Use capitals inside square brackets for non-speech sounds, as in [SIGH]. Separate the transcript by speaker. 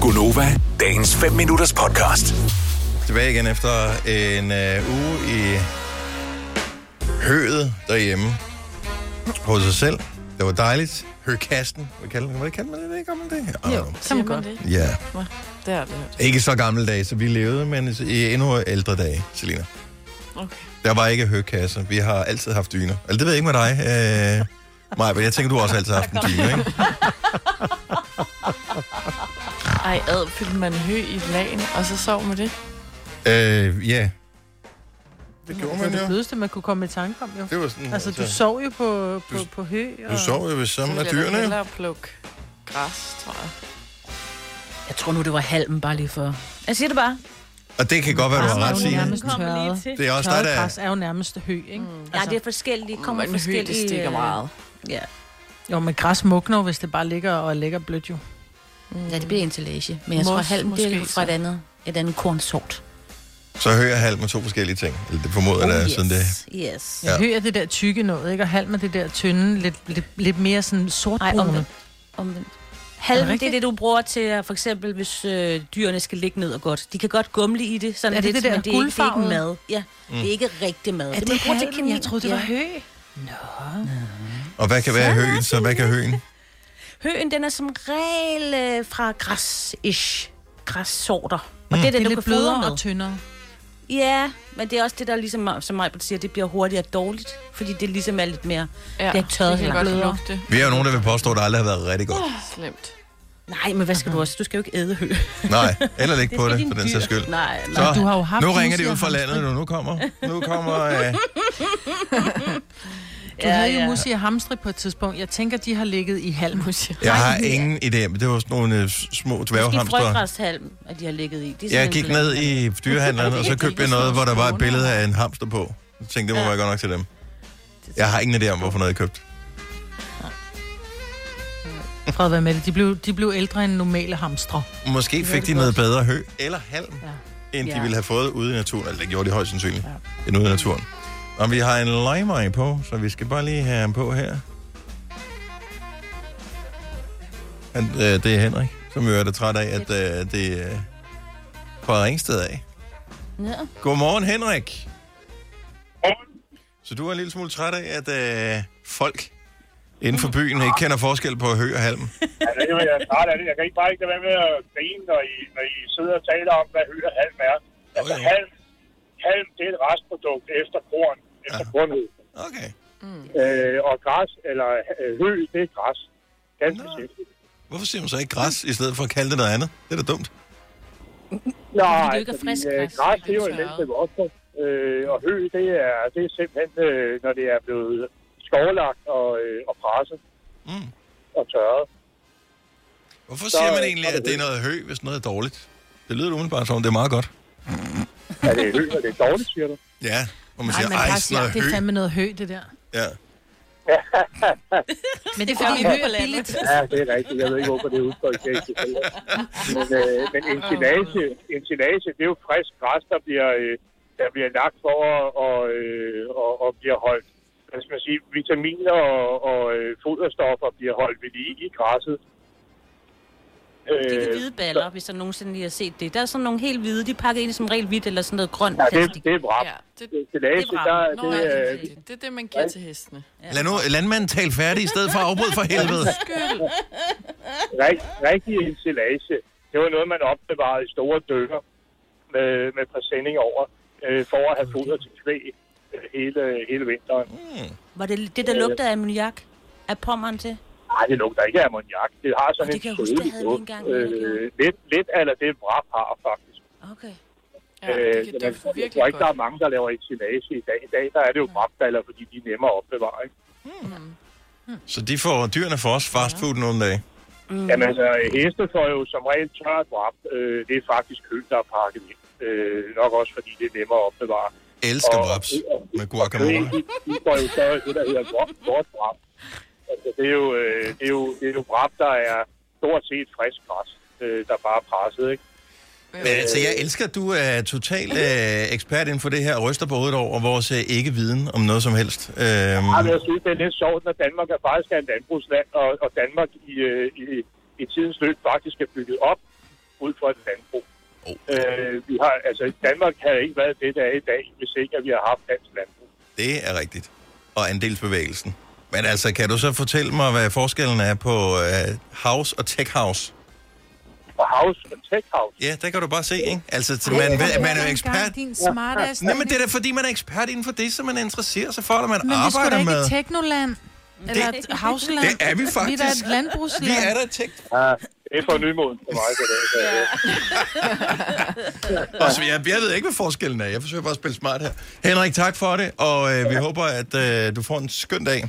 Speaker 1: Gunova, dagens 5 minutters podcast.
Speaker 2: Tilbage igen efter en øh, uge i høet derhjemme hos sig selv. Det var dejligt. Høkasten. Hvad kalder man det? Kalder man det? det? Gør man det? I don't know.
Speaker 3: Kan man godt. Det?
Speaker 2: Ja.
Speaker 3: Nå, det har jeg aldrig hørt.
Speaker 2: Ikke så gamle dage, så vi levede, men i endnu ældre dage, Selina.
Speaker 3: Okay.
Speaker 2: Der var ikke høkasser. Vi har altid haft dyner. Eller det ved jeg ikke med dig, øh, Maja, men jeg tænker, du har også altid haft en dyne, ikke?
Speaker 3: Ej, ad fyldte man hø i et lagen, og så sov med det.
Speaker 2: Øh, ja. Det gjorde
Speaker 4: Det var
Speaker 2: man
Speaker 4: det
Speaker 2: jo.
Speaker 4: blødeste, man kunne komme i tanke om, jo.
Speaker 2: Det var sådan,
Speaker 4: Altså, du sov jo på, på,
Speaker 2: Du-
Speaker 4: på hø. Og...
Speaker 2: du sov jo ved sammen af
Speaker 3: Så
Speaker 2: dyrene.
Speaker 3: Jeg
Speaker 2: jo.
Speaker 3: hellere plukke græs, tror jeg.
Speaker 5: Jeg tror nu, det var halmen bare lige for... Jeg siger det bare. Ah,
Speaker 2: Og det kan godt være, du har
Speaker 4: Græs er
Speaker 2: ret,
Speaker 4: jo
Speaker 2: Signe.
Speaker 4: nærmest tørret.
Speaker 2: Det er også dig,
Speaker 4: Tørret
Speaker 2: der...
Speaker 4: græs er jo nærmest hø, ikke? Mm.
Speaker 5: Ja, det er forskellige. Kommer
Speaker 3: Men hø,
Speaker 5: forskellige...
Speaker 3: det stikker meget.
Speaker 5: Ja.
Speaker 4: Jo, men græs mugner jo, hvis det bare ligger og ligger blødt jo.
Speaker 5: ja, det bliver ensilage. Men jeg
Speaker 3: Mos
Speaker 5: tror, halmen det er
Speaker 3: måske,
Speaker 5: fra et
Speaker 3: så.
Speaker 5: andet, et andet kornsort.
Speaker 2: Så hører jeg halv med to forskellige ting. Eller det formoder jeg, oh, yes. sådan det.
Speaker 5: yes.
Speaker 2: Ja.
Speaker 4: Ja. Hø er det der tykke noget, ikke? Og halm er det der tynde, lidt, lidt, lidt mere sådan
Speaker 5: Nej,
Speaker 4: sortbrune.
Speaker 5: omvendt. omvendt.
Speaker 4: Er det
Speaker 5: Halmen, det er
Speaker 4: rigtigt?
Speaker 5: det, du bruger til, at for eksempel, hvis øh, dyrene skal ligge ned og godt. De kan godt gumle i det, sådan
Speaker 4: Er det
Speaker 5: lidt,
Speaker 4: det der
Speaker 5: men det er, ikke, det er ikke
Speaker 4: guldfarvede?
Speaker 5: mad. Ja, mm. det er ikke rigtig mad. man bruger til kanin.
Speaker 4: Jeg troede, det
Speaker 5: Ja.
Speaker 4: var hø.
Speaker 2: Og hvad kan være høen, så hvad kan høen?
Speaker 5: Høen, den er som regel øh, fra græs-ish. Græssorter. Og det er
Speaker 4: Det
Speaker 5: det,
Speaker 4: er
Speaker 5: du kan
Speaker 4: lidt
Speaker 5: blødere
Speaker 4: blødere
Speaker 5: med.
Speaker 4: og tyndere.
Speaker 5: Ja, men det er også det, der ligesom, som Majbert siger, det bliver hurtigere dårligt, fordi det ligesom er lidt mere...
Speaker 3: Ja,
Speaker 5: Det er ikke tørret
Speaker 3: det kan
Speaker 5: heller.
Speaker 3: godt lugte.
Speaker 2: Vi er jo nogen, der vil påstå, at det aldrig har været rigtig [LAUGHS] godt.
Speaker 3: Slemt.
Speaker 5: Nej, men hvad skal du også? Du skal jo ikke æde hø.
Speaker 2: Nej, eller læg på
Speaker 5: skal
Speaker 2: det,
Speaker 5: dine
Speaker 2: for den
Speaker 5: dyr.
Speaker 2: sags skyld.
Speaker 5: Nej, nej.
Speaker 2: Så,
Speaker 4: du har jo haft
Speaker 2: nu
Speaker 4: huse
Speaker 2: ringer det
Speaker 4: og
Speaker 2: ud fra
Speaker 4: hamster.
Speaker 2: landet nu. Nu [LAUGHS] kommer, nu kommer øh,
Speaker 4: Du ja, havde jo ja. musi og hamstri på et tidspunkt. Jeg tænker, de har ligget i halm.
Speaker 2: Jeg har ingen idé, men det var sådan nogle øh, små
Speaker 5: Måske
Speaker 2: dværghamstre.
Speaker 5: frøgræshalm, at de har ligget i. Det er
Speaker 2: Jeg
Speaker 5: sådan
Speaker 2: gik
Speaker 5: en-
Speaker 2: ned i [LAUGHS] dyrehandleren, og så købte jeg noget, hvor der var et billede af en hamster på. Jeg tænkte, det må være godt nok til dem. Jeg har ingen idé om, hvorfor noget jeg købte.
Speaker 4: Fred, hvad med det? De blev, de blev ældre end normale hamstre.
Speaker 2: Måske fik de noget bedre hø eller halm, end de
Speaker 5: Ja.
Speaker 2: ville have fået ude i naturen. Eller det gjorde de højst sandsynligt, end ude i naturen. Og vi har en løgmej på, så vi skal bare lige have ham på her. Han, øh, det er Henrik, som jo er det træt af, at øh, det er øh, fra Ringsted af.
Speaker 5: Ja.
Speaker 2: Godmorgen, Henrik. Så du er en lille smule træt af, at øh, folk inden for byen ikke kender forskel på hø og
Speaker 5: [LAUGHS]
Speaker 2: halm.
Speaker 6: Ja, det er jeg er træt af det. Jeg kan ikke bare ikke lade være med at grine, når I, når I sidder og taler om, hvad hø og halm er. Altså,
Speaker 2: Okay.
Speaker 6: halm, halm, det er et restprodukt efter korn, efter
Speaker 2: Ja.
Speaker 6: ja. kornhed.
Speaker 2: Okay.
Speaker 6: Øh, og græs, eller øh, hø, det er græs. Ganske
Speaker 2: Nå.
Speaker 6: simpelt.
Speaker 2: Hvorfor siger man så ikke græs, i stedet for at kalde det noget andet? Det er da dumt.
Speaker 6: Nej,
Speaker 5: ikke er frisk
Speaker 6: øh,
Speaker 5: græs,
Speaker 6: græs, det er jo
Speaker 3: det er
Speaker 6: en menneske også. Øh, og hø, det er, det er simpelthen, øh, når det er blevet skovlagt og, øh, og presset
Speaker 2: Mm.
Speaker 6: og tørret.
Speaker 2: Hvorfor
Speaker 6: Så-
Speaker 2: siger man egentlig,
Speaker 6: så er det
Speaker 2: at det er
Speaker 6: hø.
Speaker 2: noget hø, hvis noget er dårligt? Det lyder umiddelbart som, om det er meget godt.
Speaker 6: Er det hø, og det er dårligt, siger du?
Speaker 2: Ja, og man
Speaker 4: Nej,
Speaker 2: siger,
Speaker 4: man
Speaker 2: ej,
Speaker 4: bare
Speaker 2: sådan
Speaker 4: siger,
Speaker 2: noget
Speaker 4: det er
Speaker 2: hø.
Speaker 4: fandme noget hø, det der.
Speaker 2: Ja.
Speaker 4: Men det er fordi, hø er billigt.
Speaker 6: Ja, det er rigtigt. Jeg ved ikke, hvorfor det er udtryk. Det er ikke tilfældigt. men øh, men ensilage, ensilage, det er jo frisk græs, der bliver, øh, der bliver lagt for og- og, øh, og, og bliver holdt. Hvad skal man sige? Vitaminer og, og øh, foderstoffer bliver holdt ved lige i græsset.
Speaker 5: Det er de
Speaker 6: Øh,
Speaker 5: hvide baller, hvis der nogensinde lige har set det. Der er sådan nogle helt hvide, de pakker ind i som regel hvidt eller sådan noget grønt
Speaker 6: ja, det,
Speaker 5: plastik.
Speaker 6: det er bra.
Speaker 3: Ja, det,
Speaker 6: Ensilage,
Speaker 5: Det er bra.
Speaker 6: der,
Speaker 5: Nå,
Speaker 6: det,
Speaker 3: nej, det, er
Speaker 6: øh,
Speaker 3: rigtigt. det er det, man giver til hestene.
Speaker 2: Lad nu landmanden tale færdig, i stedet for at afbryde
Speaker 4: [LAUGHS]
Speaker 2: for helvede.
Speaker 3: Skyld.
Speaker 6: Rig, rigtig ensilage, det var noget, man opbevarede i store dykker med, med præsending over, øh, for at have foder til kvæg øh, hele, hele vinteren.
Speaker 5: Var det det, der lugtede af ammoniak? Af pommeren til?
Speaker 6: Nej, det lugter ikke af ammoniak. Det har sådan
Speaker 5: Og det
Speaker 6: en
Speaker 5: kan jeg huske, det
Speaker 6: sødlig
Speaker 5: havde vi
Speaker 6: lugt.
Speaker 5: engang, jeg
Speaker 6: Øh,
Speaker 5: gjorde.
Speaker 6: lidt, lidt eller det Brap har, faktisk.
Speaker 5: Okay.
Speaker 3: Ja, det
Speaker 6: Øh,
Speaker 3: kan
Speaker 6: men
Speaker 3: dufte
Speaker 6: jeg
Speaker 3: virkelig
Speaker 6: tror ikke, der
Speaker 3: godt.
Speaker 6: er mange, der laver ensilage i dag. I dag der er det jo brapballer, fordi de er nemmere at opbevare. Ikke?
Speaker 2: [LAUGHS] Så de får, dyrene får også fastfood nogle dage.
Speaker 5: Mm.
Speaker 6: Jamen altså, heste får jo som regel tørt brap. Øh, det er faktisk køl, der er pakket ind. Øh, nok også, fordi det er nemmere at opbevare.
Speaker 2: Elsker
Speaker 6: Og-
Speaker 2: wraps med
Speaker 6: Kød,
Speaker 2: guacamole.
Speaker 6: de, de får jo så det, der hedder vort- vortbrap. Altså, det er jo, øh, det er jo, det er jo brap, der er stort set frisk græs, øh, der bare er presset, ikke?
Speaker 2: Men altså, jeg elsker, at du er total øh, ekspert inden for det her, og ryster på hovedet over vores øh, ikke-viden om noget som helst. Øhm,
Speaker 6: Ja, men jeg synes, det er lidt sjovt, når Danmark er faktisk er en landbrugsland, og, og Danmark i, øh, i, i tidens løb faktisk er bygget op ud fra et landbrug.
Speaker 2: Oh,
Speaker 6: Øh, vi har, altså, Danmark havde ikke været det, der er i dag, hvis ikke at vi har haft dansk landbrug.
Speaker 2: det er rigtigt. Og andelsbevægelsen. Men altså, kan du så fortælle mig, hvad forskellen er på øh, house og tech house?
Speaker 6: Og House og Tech House.
Speaker 2: Ja, der kan du bare se, ikke? Altså, t- man, ved- man er jo ekspert.
Speaker 7: Din smart ass.
Speaker 2: Nej, men det er da fordi, man er ekspert inden for det, som man interesserer sig for, eller man
Speaker 4: Men vi skulle da
Speaker 2: arbejder
Speaker 4: ikke
Speaker 2: med.
Speaker 4: i Teknoland. Eller
Speaker 2: Det-
Speaker 4: et Havsland.
Speaker 2: Det er vi
Speaker 4: Vi er da
Speaker 2: faktisk.
Speaker 4: et landbrugsland.
Speaker 2: Vi er der tech.
Speaker 6: Ja. Det er for nymoden for mig. Så det, så, ja.
Speaker 2: Og så, Altså, jeg, jeg ved ikke, hvad forskellen er. Jeg forsøger bare at spille smart her. Henrik, tak for det, og øh, vi håber, at øh, du får en skøn dag